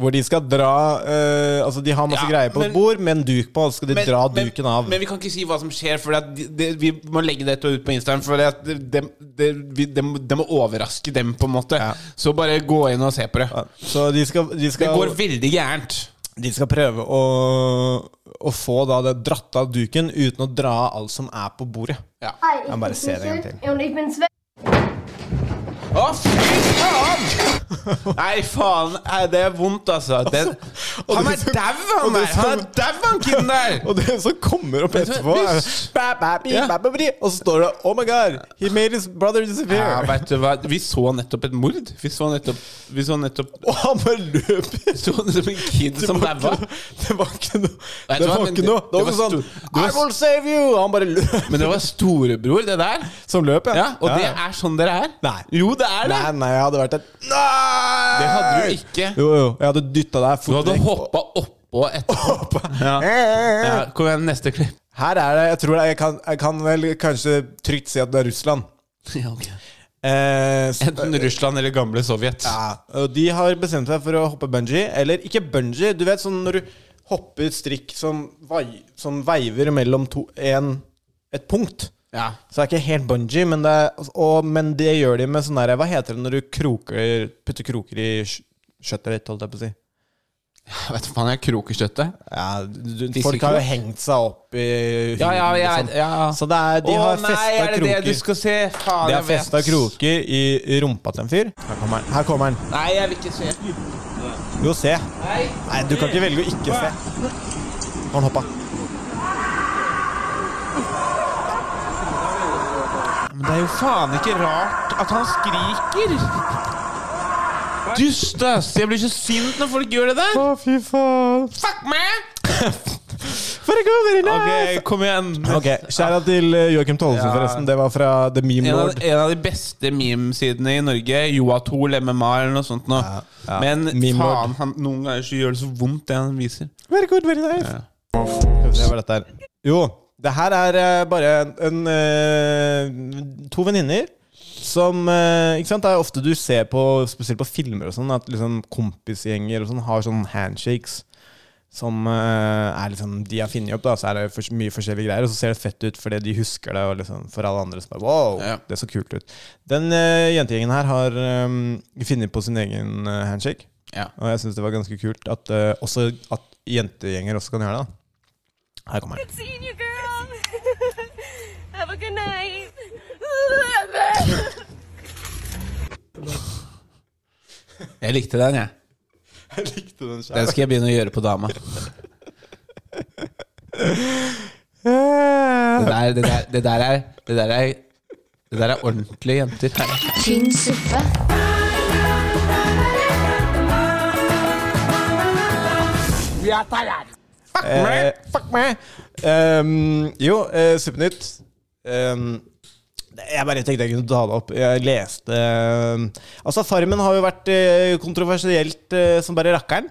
Hvor de skal dra eh, Altså, de har masse greier på et bord med en duk på, og så skal de dra duken av. Men vi kan ikke si hva som skjer, for det, det, vi må legge dette ut på Instagram. For det, det, det, vi, det, må- det må overraske dem, på en måte. Så bare gå inn og se på det. Så de skal, de skal Det går veldig gærent. De skal prøve å, å få da det dratt av duken uten å dra av alt som er på bordet. Hei, Jeg må bare se det en gang til. Und ich bin Sven. Å, fy (laughs) faen! Nei, faen. Nei, det er vondt, altså. Det, han er dau, han der! Han er dau, han kiden der! (laughs) (laughs) Og det som kommer opp etterpå, er ba, ba, bi, ba, ba, bri, Og så står det Oh my god, he made his brother Ja, disappear. vet du hva? Vi så nettopp et mord. Vi så nettopp Vi så nettopp Og han bare løper! Så nettopp en kid som daua. Det var ikke noe. Nei, Det var men ikke noe. Det var stor- sånn det I var- will save you! Han bare løp. (laughs) Men det var storebror, det der. Som løp, ja. og Ja, det ja. er sånn dere er. Nei. Jo, det er det. Nei, nei, jeg hadde vært et Det hadde du ikke. Jo, jo. Jeg hadde dytta deg Du fort hadde vekk. hoppa oppå (laughs) etterpå. Ja. ja, kom igjen, neste klipp. Her er det Jeg tror det, er- jeg kan, jeg kan vel kanskje trygt si at det er Russland. (laughs) Ja, ok. Eh, s- Enten Russland eller gamle Sovjet. Ja, og de har bestemt seg for å hoppe bungee. Eller ikke bungee, du vet sånn når du hopper strikk som, vai, som veiver mellom to, en, et punkt. Ja. Så det er ikke helt bungee, men det, er, og, men det gjør de med sånn der Hva heter det når du kroker, putter kroker i skj- skjøttet ditt, holdt jeg på å si? Jeg vet du faen, jeg kroker støttet. Ja, du, Fiskekrok? folk har jo hengt seg opp i huden, Ja, ja, ja, liksom. ja. Så det er, de Å, har nei, festa er det kroker. det du skal se? Faen, de jeg har festa vet. kroker i, i rumpa til en fyr. Her kommer han. Her kommer han. Nei, jeg vil ikke se. Jo, se. Nei. Nei, du kan ikke velge å ikke se. Nå har han hoppa. Men det er jo faen ikke rart at han skriker. Dust, ass. Jeg blir så sint når folk gjør det der. Å, fy faen. Fuck meg! Recovery Ok, kom igjen. Ok, Skjæra til eh, Joakim Tollesen, Ja. forresten. Det var fra The Meme En av, Lord. en av de beste memesidene i Norge. Joatol, MMA eller noe sånt noe. ja. Men Meme faen, han, noen ganger så gjør det så vondt, det han viser. Very good, very nice. Skal vi se hva dette er. Jo, det her er eh, bare en, en eh, To venninner som eh, Ikke sant, det er ofte du ser på, spesielt på filmer og sånn, at liksom kompisgjenger og sånn har sånn handshakes. Som eh, er liksom De har funnet opp, da, så er det for, mye forskjellige greier. Og så ser det fett ut fordi de husker det, og liksom for alle andre så bare wow, det så kult ut. Den eh, jentegjengen her har eh, funnet på sin egen eh, handshake. Og jeg syns det var ganske kult at, eh, også, at jentegjenger også kan gjøre det. da. Her kommer den. seeing you, (laughs) girl. Have a good night. Jeg likte den, jeg. (laughs) Jeg likte den Den skal jeg begynne å gjøre på (laughs) dama. Det der, det der, det der, er, det der, er, det der er ordentlige jenter. Tynn suppe. We are tired. Eh, fuck meg! Ehm, jo, eh, Suppenytt. Ehm, det- jeg bare tenkte jeg kunne ta det opp. Jeg leste ehm, Altså, Farmen har jo vært eh, kontroversielt eh, som bare rakkeren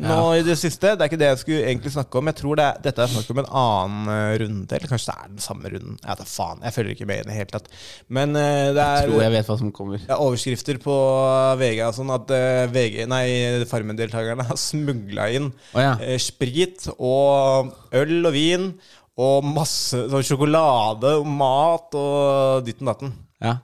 nå i det siste. Det er ikke det jeg skulle egentlig snakke om. Jeg tror det er, dette er snakk om en annen eh, runde. Eller kanskje det er den samme runden. Jeg vet da faen. Jeg følger ikke med i det hele tatt. Men eh, det er Tror jeg vet hva som kommer. det er overskrifter på VG og sånn at eh, VG, nei, Farmen-deltakerne har smugla inn eh, sprit og øl og vin og masse sånn sjokolade og mat og ditten datten. Eh,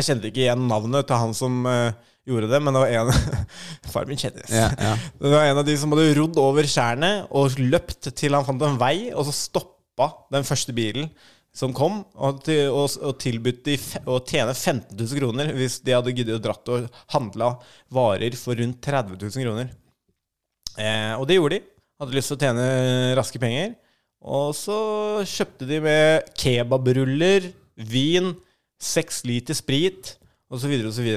Jeg kjente ikke igjen navnet til han som eh, gjorde det, men det var en (laughs) Far min kjendis. Ja, ja. (laughs) Det var en av de som hadde rodd over tjernet og løpt til han fant en vei, og så stoppa den første bilen som kom, og, til, og, og tilbudt de fe- å tjene 15 000 kroner hvis de hadde giddet å dratt og handla varer for rundt 30 000 kroner. Eh, og det gjorde de. Hadde lyst til å tjene raske penger. Og så kjøpte de med kebabruller, vin, seks liter sprit osv. osv.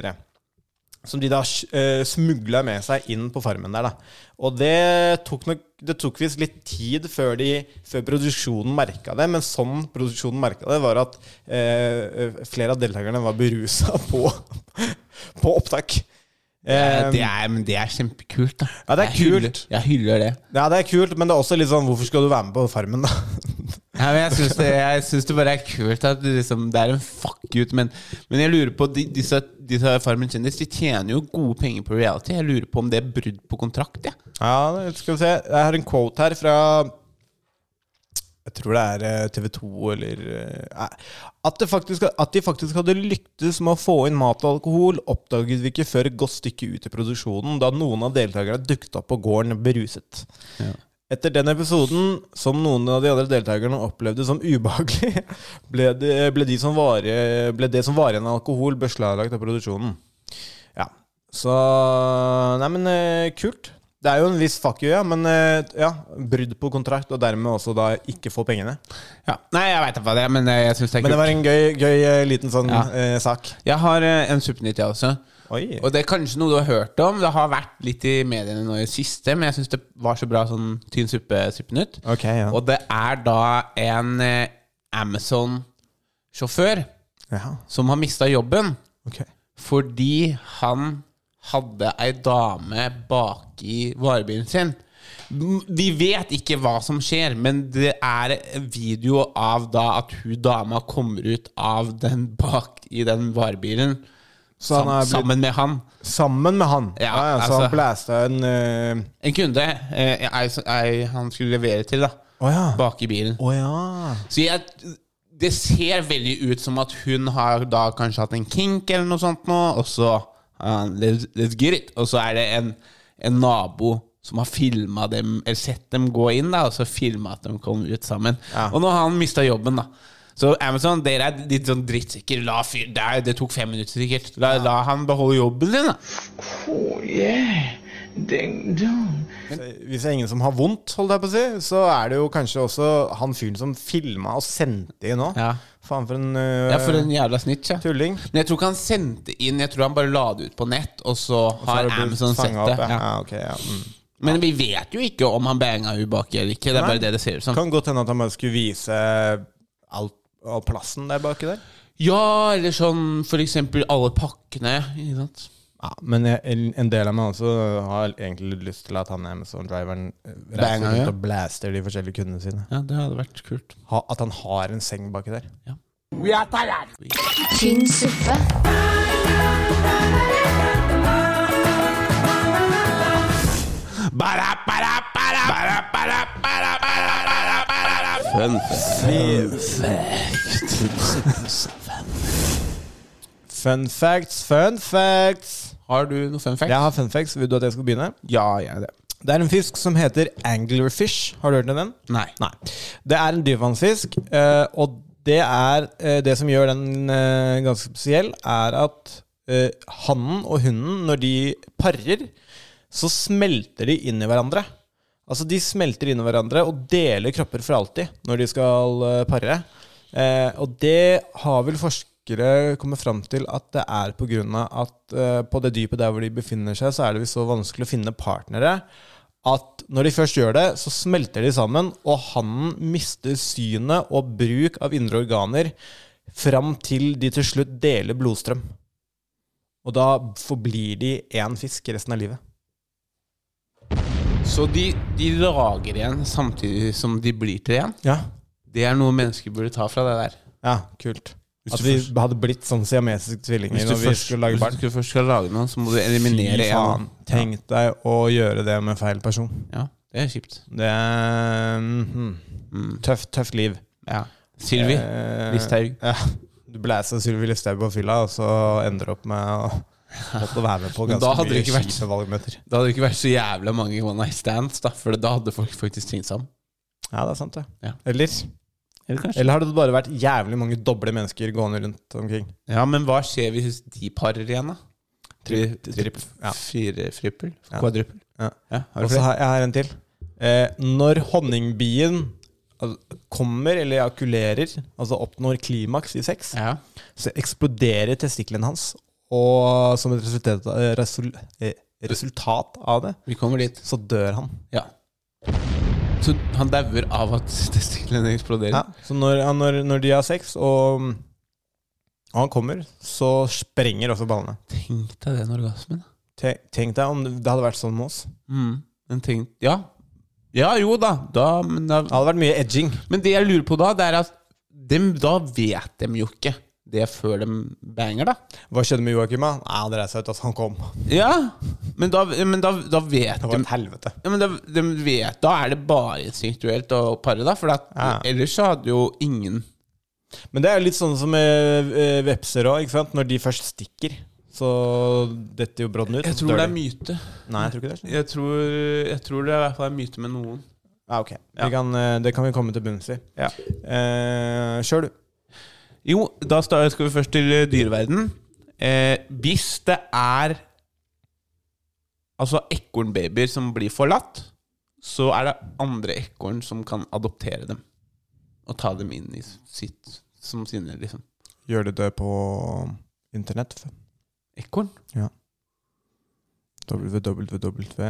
Som de da uh, smugla med seg inn på farmen der. da. Og det tok, nok, det tok visst litt tid før, de, før produksjonen merka det. Men sånn produksjonen merka det, var at eh, flere av deltakerne var berusa på, (laughs) på opptak. Eh, det Eh, er, men det er kjempekult, da. Ja, det er jeg kult. Hyller, jeg hyller det. Ja, det er kult, men det er også litt sånn Hvorfor skal du være med på Farmen, da? Nei, men jeg syns det, jeg synes det bare er kult at det, liksom, det er en fuck ut, men, men jeg lurer på de, disse, disse Farmen kjendis De tjener jo gode penger på reality. Jeg lurer på om det er brudd på kontrakt. Ja. Ja, det- skal vi se. Jeg har en quote her fra Jeg tror det er TV 2 eller eh, nei. at, det faktisk, at de faktisk hadde lyktes med å få inn mat og alkohol, oppdaget vi ikke før et godt stykke ut i produksjonen, da noen av deltakerne dukket opp på gården beruset. Etter den episoden, som noen av de andre deltakerne opplevde som ubehagelig, (laughs) ble det, ble de som var, ble det som var igjen av alkohol, beslaglagt av produksjonen. Ja. Så Nei, men eh, kult. Det er jo en viss fuck you, ja, men eh, ja, brudd på kontrakt, og dermed også da ikke få pengene. Nei, jeg veit ikke hva det er, men eh, jeg syns det er kult. Men det var en gøy, gøy eh, liten sånn Ja. eh, sak. Jeg har eh, en Supernytt, jeg også. Og det er kanskje noe du har hørt om. Det har vært litt i mediene nå i det siste, men jeg syns det var så bra sånn tynn suppe Supernytt. Ok, ja. Og det er da en eh, Amazon-sjåfør Ja. som har mista jobben Ok. fordi han hadde ei dame baki varebilen sin. M- Vi vet ikke hva som skjer, men det er video av da at hun dama kommer ut av den bak i den varebilen. Så han er Sam- blitt- Sammen med han. Sammen med han? Ja, Ja, ja, så altså- han blæsta en eh, En kunde eh, ei, som- ei, han skulle levere til, da. Åja. Bak i bilen. Å ja. Så jeg, det ser veldig ut som at hun har da kanskje hatt en kink eller noe sånt nå, og så uh, let's, let's get it. Og så er det en, en nabo som har filma dem, eller sett dem gå inn, da, og så filma at de kom ut sammen. Og nå har han mista jobben, da. Så Amazon, dere er litt sånn drittsekker. La fyr, det, er- det tok fem minutter, sikkert. La, la han beholde jobben sin, da. Oh, yeah. Hvis det er ingen som har vondt, holdt jeg på å si, så er det jo kanskje også han fyren som filma og sendte inn nå. Faen, for en, øh, Ja, for en jævla snitch, ja. Tulling. Men jeg tror ikke han sendte inn, jeg tror han bare la det ut på nett, og så så har har det blitt Amazon sett fanget det. opp, ja. Ja, ok, ja, mm. Men vi vet jo ikke om han banga hun baki eller ikke. Det er Nei. bare det det ser ut som. Kan godt hende at han bare skulle vise alt all plassen der baki der. Ja, eller sånn for eksempel alle pakkene. Ikke sant? Ja, men jeg, en en del av meg også har egentlig lyst til at han Amazon-driveren øh, reiser Banger, ja. rundt og blaster de forskjellige kundene sine. Ja, det hadde vært kult. Ha, at han har en seng baki der. We are tired. Tynn suppe. Fun Fun facts, fun facts. Har du noen fun facts? Jeg har fun facts. Vil du at jeg skal begynne? Ja, jeg det. Det er en fisk som heter anglerfish. Har du hørt om den? Nei. Det er en dypvannsfisk, eh, og det er eh, det som gjør den eh, ganske spesiell, er at eh, hannen og hunden, når de parer, så smelter de inn i hverandre. Altså, de smelter inn i hverandre og deler kropper for alltid når de skal eh, pare. Eh, og det har vel forskere kommet fram til at det er på grunn av at eh, på det dypet der hvor de befinner seg, så er det visst så vanskelig å finne partnere at når de først gjør det, så smelter de sammen, og hannen mister synet og bruk av indre organer fram til de til slutt deler blodstrøm. Og da forblir de én fisk resten av livet. Så de, de lager igjen samtidig som de blir til igjen? Ja. Det er noe mennesker burde ta fra det der. Ja, kult. Hvis At du vi først- hadde blitt sånn siamesiske tvillinger Hvis du når vi først- skulle lage hvis du barn. skulle først skal lage noen, så må du eliminere Fy en. faen. Tenk deg å gjøre det med feil person. Ja, det er kjipt. Det er mhm. tøft, tøft liv. Ja. Sylvi Eh. Listhaug. Ja. Du blæser Sylvi Listhaug på fylla, og så ender du opp med å måtte være med på Men da ganske hadde det mye ikke vært- kjipe valgmøter. Da hadde det ikke vært så jævla mange one night stands, da, for da hadde folk faktisk trengt sammen. Ja, det er sant, det. Ja. Eller? Eller kanskje. Eller har det bare vært jævlig mange doble mennesker gående rundt omkring? Ja, men hva skjer hvis de parer igjen, da? Tri, Tripp- tri, Fire frippel? Ja. Kvadruppel? Ja. Ja, har du Og så flere? har jeg har en til. Eh, når honningbien al- kommer eller ejakulerer, altså oppnår klimaks i sex, så eksploderer testiklene hans. Og som et resultat, eh, resul, eh, resultat av det, Vi kommer dit. så dør han. Ja. Så han dauer av at (laughs) testiklene eksploderer? Ja, så når, ja, når, når de har sex, og, og han kommer, så sprenger også ballene. Tenk deg den orgasmen. Tenk, tenk deg om det hadde vært sånn med oss. Mm. Men tenk, ja, Ja, jo da. da, men da det hadde vært mye edging. Men det jeg lurer på da, det er at dem, da vet de jo ikke det før de banger, da. Hva skjedde med Joakim? da? Nei, Han reiste seg ut, altså. Han kom. Ja, men da, men da, da vet Det var et helvete. Ja, men da, de vet, da er det bare instinktuelt å pare, da. For at, ellers så hadde jo ingen Men det er jo litt sånn som med eh, vepser òg, ikke sant. Når de først stikker, så detter jo brodden ut. Jeg og så tror dør det er de. myte. Nei, jeg tror ikke det er sånn. Jeg tror, jeg tror det er i hvert fall er myte med noen. Ja, ok. Vi kan, eh, det kan vi komme til bunns i. Ja. Eh, Kjør, du. Jo, da sta- skal vi først til eh, dyreverden. Eh, hvis det er altså ekornbabyer som blir forlatt, så er det andre ekorn som kan adoptere dem. Og ta dem inn i sitt som sine, liksom. Gjør de det på internett? Ekorn? Ja. www.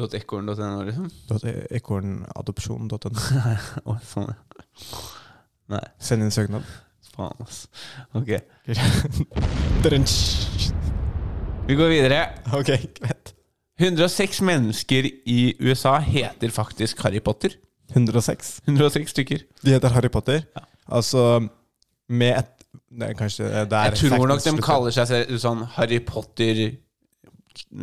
.ekorn.no, liksom. (laughs) Ekornadopsjon.no. sånn, Nei. Send inn søknad. Faen, ass. (laughs) Ok. Drunch. Vi går videre. Ok, greit. 106 mennesker i USA heter faktisk Harry Potter. 106? 106 stykker. De heter Harry Potter. Altså med et det er kanskje der Jeg tror facten nok de slutter. kaller seg selv sånn Harry Potter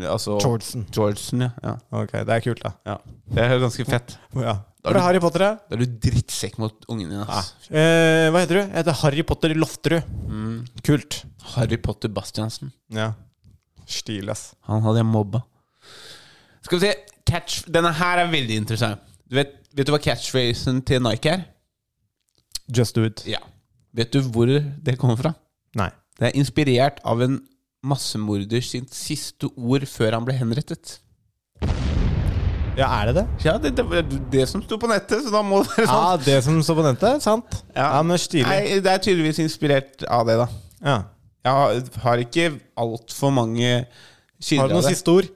Altså Georgeson. Georgeson, ja. ja. Ok, det er kult, da. Det er ganske fett. Ja. Da er Bra, du- Harry Potter, ja. Da er du drittsekk mot ungene dine. ass. Eh, hva heter du? Jeg heter Harry Potter Lofterud. Mm. Kult. Harry Potter Bastiansen. Ja. Stil, ass. Han hadde jeg mobba. Skal vi se catch, Denne her er veldig interessant. Du vet, vet du hva catchphrasen til Nike er? Just do it. Ja. Vet du hvor det kommer fra? Nei. Det er inspirert av en massemorder sitt siste ord før han ble henrettet. Ja, er det det? Ja, det, det var det som sto på nettet, så da må det være Ja, sant. det som står på nettet, sant? Ja, men stilig. Nei, det er tydeligvis inspirert av det, da. Ja. Jeg har- har ikke altfor mange kilder Har du noen siste ord?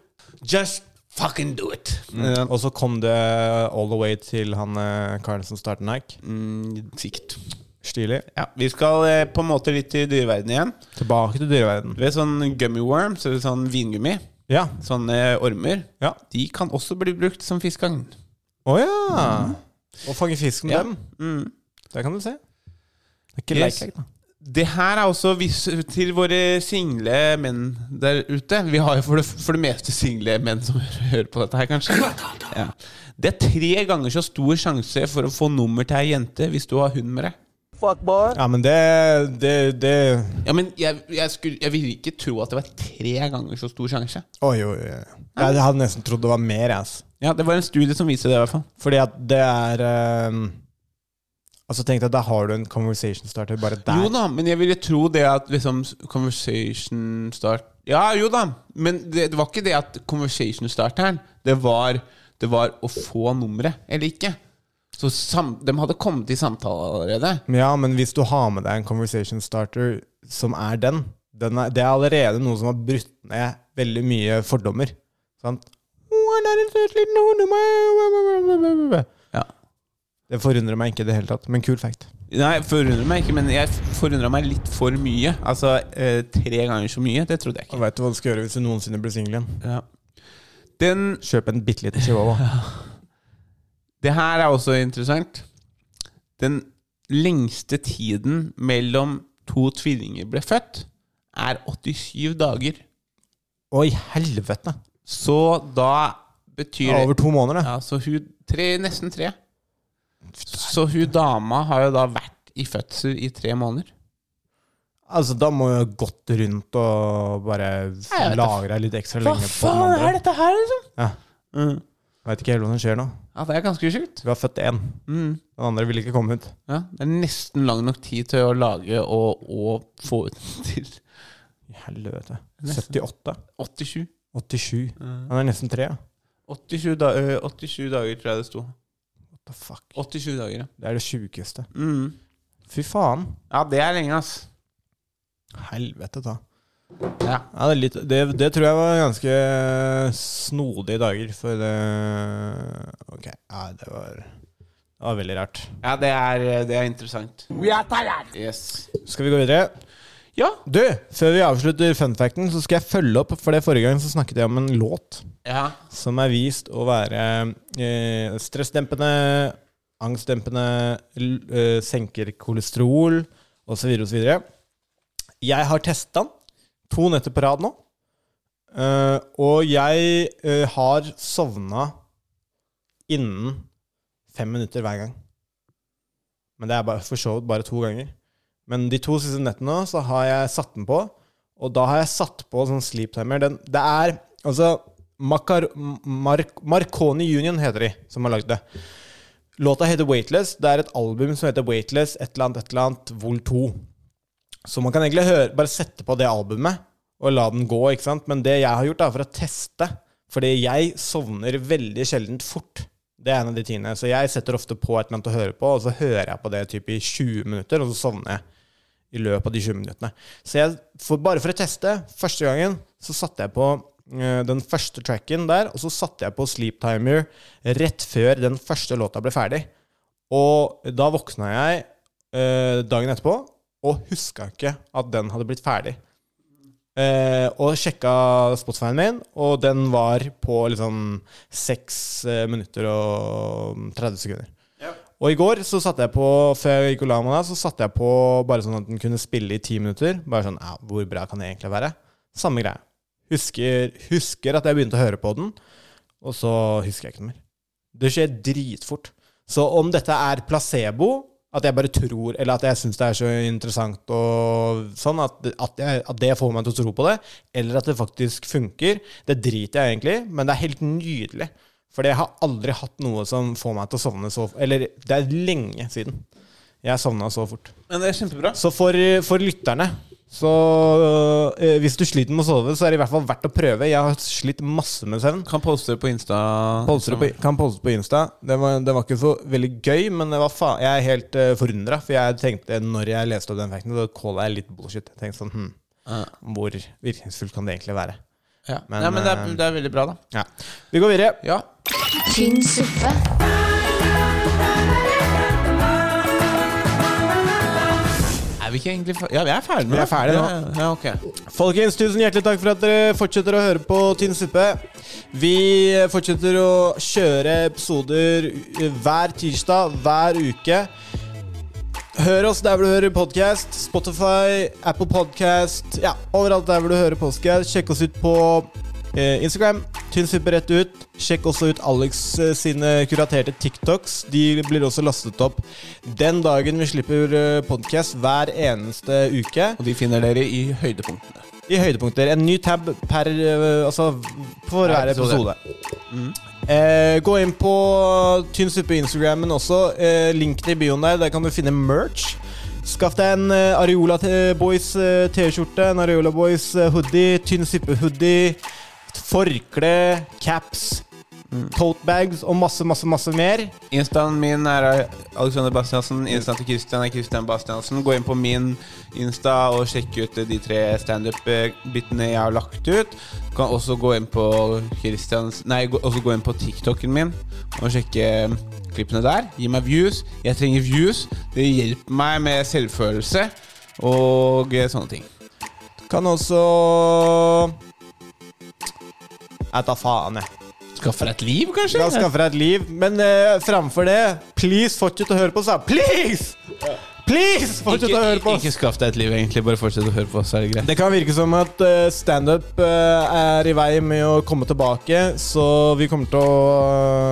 Just fucking do it. Mm. Og så kom det all the way til han eh, karen som startet Nike. mm, sikkert. Stilig. Ja, vi skal eh, på en måte litt til dyreverdenen igjen. Tilbake til dyreverden. Du vet sånn gummy worms, eller sånn vingummi? Ja. Sånne eh, ormer. De kan også bli brukt som fiskeagn. Å ja! Å fange fisk med Ja. dem. Mm. Der kan du se. Det er ikke Yes. leik, da. Det her er også vis til våre single menn der ute. Vi har jo for det, for det meste single menn som (laughs) hører på dette her, kanskje. Ja. Det er tre ganger så stor sjanse for å få nummer til ei jente hvis du har hund med deg. Fuck boy. Ja, men det, det, det Ja, men jeg, jeg, skulle, jeg ville ikke tro at det var tre ganger så stor sjanse. Oi, oi, oi. Jeg hadde nesten trodd det var mer. Ass. Ja, Det var en studie som viste det, i hvert fall. Fordi at det er ehm, Altså Tenk deg, der har du en conversation starter bare der. Jo da, men jeg ville tro det at liksom conversation start Ja, jo da, men det, det var ikke det at conversation starteren Det var, det var å få nummeret, eller ikke. Så sam, de hadde kommet i samtale allerede. Men Ja, men hvis du har med deg en conversation starter som er den, den er, det er allerede noe som har brutt ned veldig mye fordommer. Sant? Ja. Det forundrer meg ikke i det hele tatt, men kul fact. Nei, jeg forundrer meg ikke, men jeg forundra meg litt for mye. Altså eh, tre ganger så mye. Det trodde jeg ikke. Og vet du hva du skal gjøre hvis du noensinne blir singel igjen? Ja. Den Kjøp en bitte liten (laughs) chihuahua. Det her er også interessant. Den lengste tiden mellom to tvillinger ble født, er 87 dager. Oi, helvete! Så da betyr Ja, over to måneder, det. Ja, så hun tre, Nesten tre. Så hun dama har jo da vært i fødsel i tre måneder. Altså, da må jeg gått rundt og bare vet lagre litt ekstra Hva lenge på den faen er andre. dette her, liksom? Ja. Veit ikke helt hva som skjer nå. Ja, det er ganske sjukt. Vi har født én. Mm. Den andre vil ikke komme ut. Ja, det er nesten lang nok tid til å lage og, og få ut (laughs) til I helvete. Nesten. 78. 87. 87. Mm. Han er nesten tre, ja. 87, da, ø, 87 dager, tror jeg det sto. What the fuck? 87 dager, ja. Det er det sjukeste. Mm. Fy faen. Ja, det er lenge, ass. Helvete ta. Ja. Ja, det, er litt, det, det tror jeg var ganske snodige dager, for det Ok, ja, det var, det var veldig rart. Ja, det er, det er eh, interessant. We are tired. Yes. Skal vi gå videre? Du, før vi avslutter funfacten, så skal jeg følge opp. For det forrige gang så snakket jeg om en låt Ja. som er vist å være eh, stressdempende, angstdempende, l- eh, senker kolesterol osv. osv. Jeg har testa den to netter på rad nå. Eh, og jeg eh, har sovna innen fem minutter hver gang. Men det er bare, for så vidt bare to ganger. Men de to siste nettene nå, så har jeg satt den på. Og da har jeg satt på sånn sleep timer. Den, det er altså Macar Mar Marconi Union heter de, som har lagd det. Låta heter Weightless. Det er et album som heter Weightless, et eller annet, et eller annet, Vol 2. Så man kan egentlig høre, bare sette på det albumet og la den gå, ikke sant? Men det jeg har gjort, er for å teste. Fordi jeg sovner veldig sjeldent fort. Det er en av de tingene. Så jeg setter ofte på et eller annet å høre på, og så hører jeg på det typ i 20 minutter, og så sovner jeg i løpet av de 20 minuttene. Så jeg, for, bare for å teste, første gangen så satte jeg på eh, den første tracken der, og så satte jeg på Sleep Timer rett før den første låta ble ferdig. Og da våkna jeg eh, dagen etterpå og huska ikke at den hadde blitt ferdig. Eh, og sjekka Spotify-en min, og den var på liksom 6 eh, minutter og mm, 30 sekunder. Og i går så satte jeg på Før jeg gikk og la meg da, så satte jeg på bare sånn at den kunne spille i ti minutter. Bare sånn ja, Hvor bra kan det egentlig være? Samme greie. Husker, husker at jeg begynte å høre på den, og så husker jeg ikke noe mer. Det skjer dritfort. Så om dette er placebo, at jeg bare tror, eller at jeg syns det er så interessant og sånn, at, at, jeg, at det får meg til å tro på det, eller at det faktisk funker, det driter jeg egentlig i, men det er helt nydelig. For jeg har aldri hatt noe som får meg til å sovne så Eller det er lenge siden jeg sovna så fort. Men det er kjempebra. Så for, for lytterne så øh, hvis du sliter med å sove, så er det i hvert fall verdt å prøve. Jeg har slitt masse med søvn. Kan poste det på Insta. Poster det på, kan poste på Insta. Det var, det var ikke så veldig gøy, men det var fa jeg er helt uh, forundra. For jeg tenkte, når jeg leste opp den facten, så calla jeg litt bullshit. Jeg tenkte sånn, hm, Hvor virkningsfullt kan det egentlig være? Ja. Nei, men det er, eh, det er veldig bra, da. ja. Vi går videre. Tynn suppe. Er vi ikke egentlig fer- Ja, vi er ferdige med Vi er ferdige nå. Ja, Ja, ok. Folkens, tusen hjertelig takk for at dere fortsetter å høre på Tynn suppe. Vi fortsetter å kjøre episoder hver tirsdag, hver uke. Hør oss der hvor du hører podkast. Spotify, Apple Podcast, ja, overalt der hvor du hører podkast. Sjekk oss ut på eh, Instagram. Tynn suppe rett ut. Sjekk også ut Alex eh, sine kuraterte TikToks. De blir også lastet opp den dagen vi slipper podkast hver eneste uke. Og de finner dere i høydepunktene. I høydepunkter. En ny tab per øh, Altså for hver episode. Eh, gå inn på Tynn suppe-instagrammen også. Eh, link til bioen der. Der kan du finne merch. Skaff deg en eh, Areola T- Boys eh, T-skjorte, en Areola Boys eh, hoodie, Tynn suppe-hoodie, forkle, caps, tote bags og masse, masse, masse mer. Instaen min er Alexander Bastiansen. Instaen til Christian er Christian Bastiansen. Gå inn på min Insta og sjekk ut de tre standup-bitene jeg har lagt ut. Du kan også gå inn på Christians Nei, gå- også gå inn på TikToken min og sjekke um, klippene der. Gi meg views. Jeg trenger views. Det hjelper meg med selvfølelse og eh, sånne ting. Kan også Jeg tar faen, jeg. Skaffe deg et liv, kanskje? Da skaffer jeg et liv. Men eh, framfor det, please fortsett å høre på oss, da. Please! Please! Fortsett å høre på oss. Ikke skaff deg et liv, egentlig. Bare fortsett å høre på oss. Er det greit? Det kan virke som at eh, standup eh, er i vei med å komme tilbake, så vi kommer til å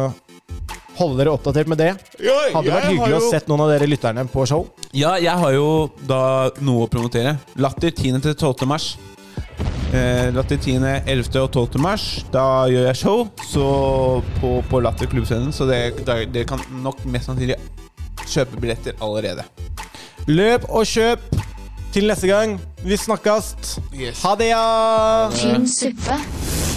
eh, holde dere oppdatert med det. Ja, Hadde jeg vært hyggelig har å jo- sett noen av dere lytterne på show. Ja, jeg har jo da noe å promotere. Latter 10. til 12. mars. Eh, Latter 10., 11. og 12. mars. Da gjør jeg show så på, på Latter klubbscenen, så det- da- dere kan nok mest sannsynlig kjøpe billetter allerede. Løp og kjøp! Til neste gang, vi snakkes! Ha det, ja! Tynn suppe.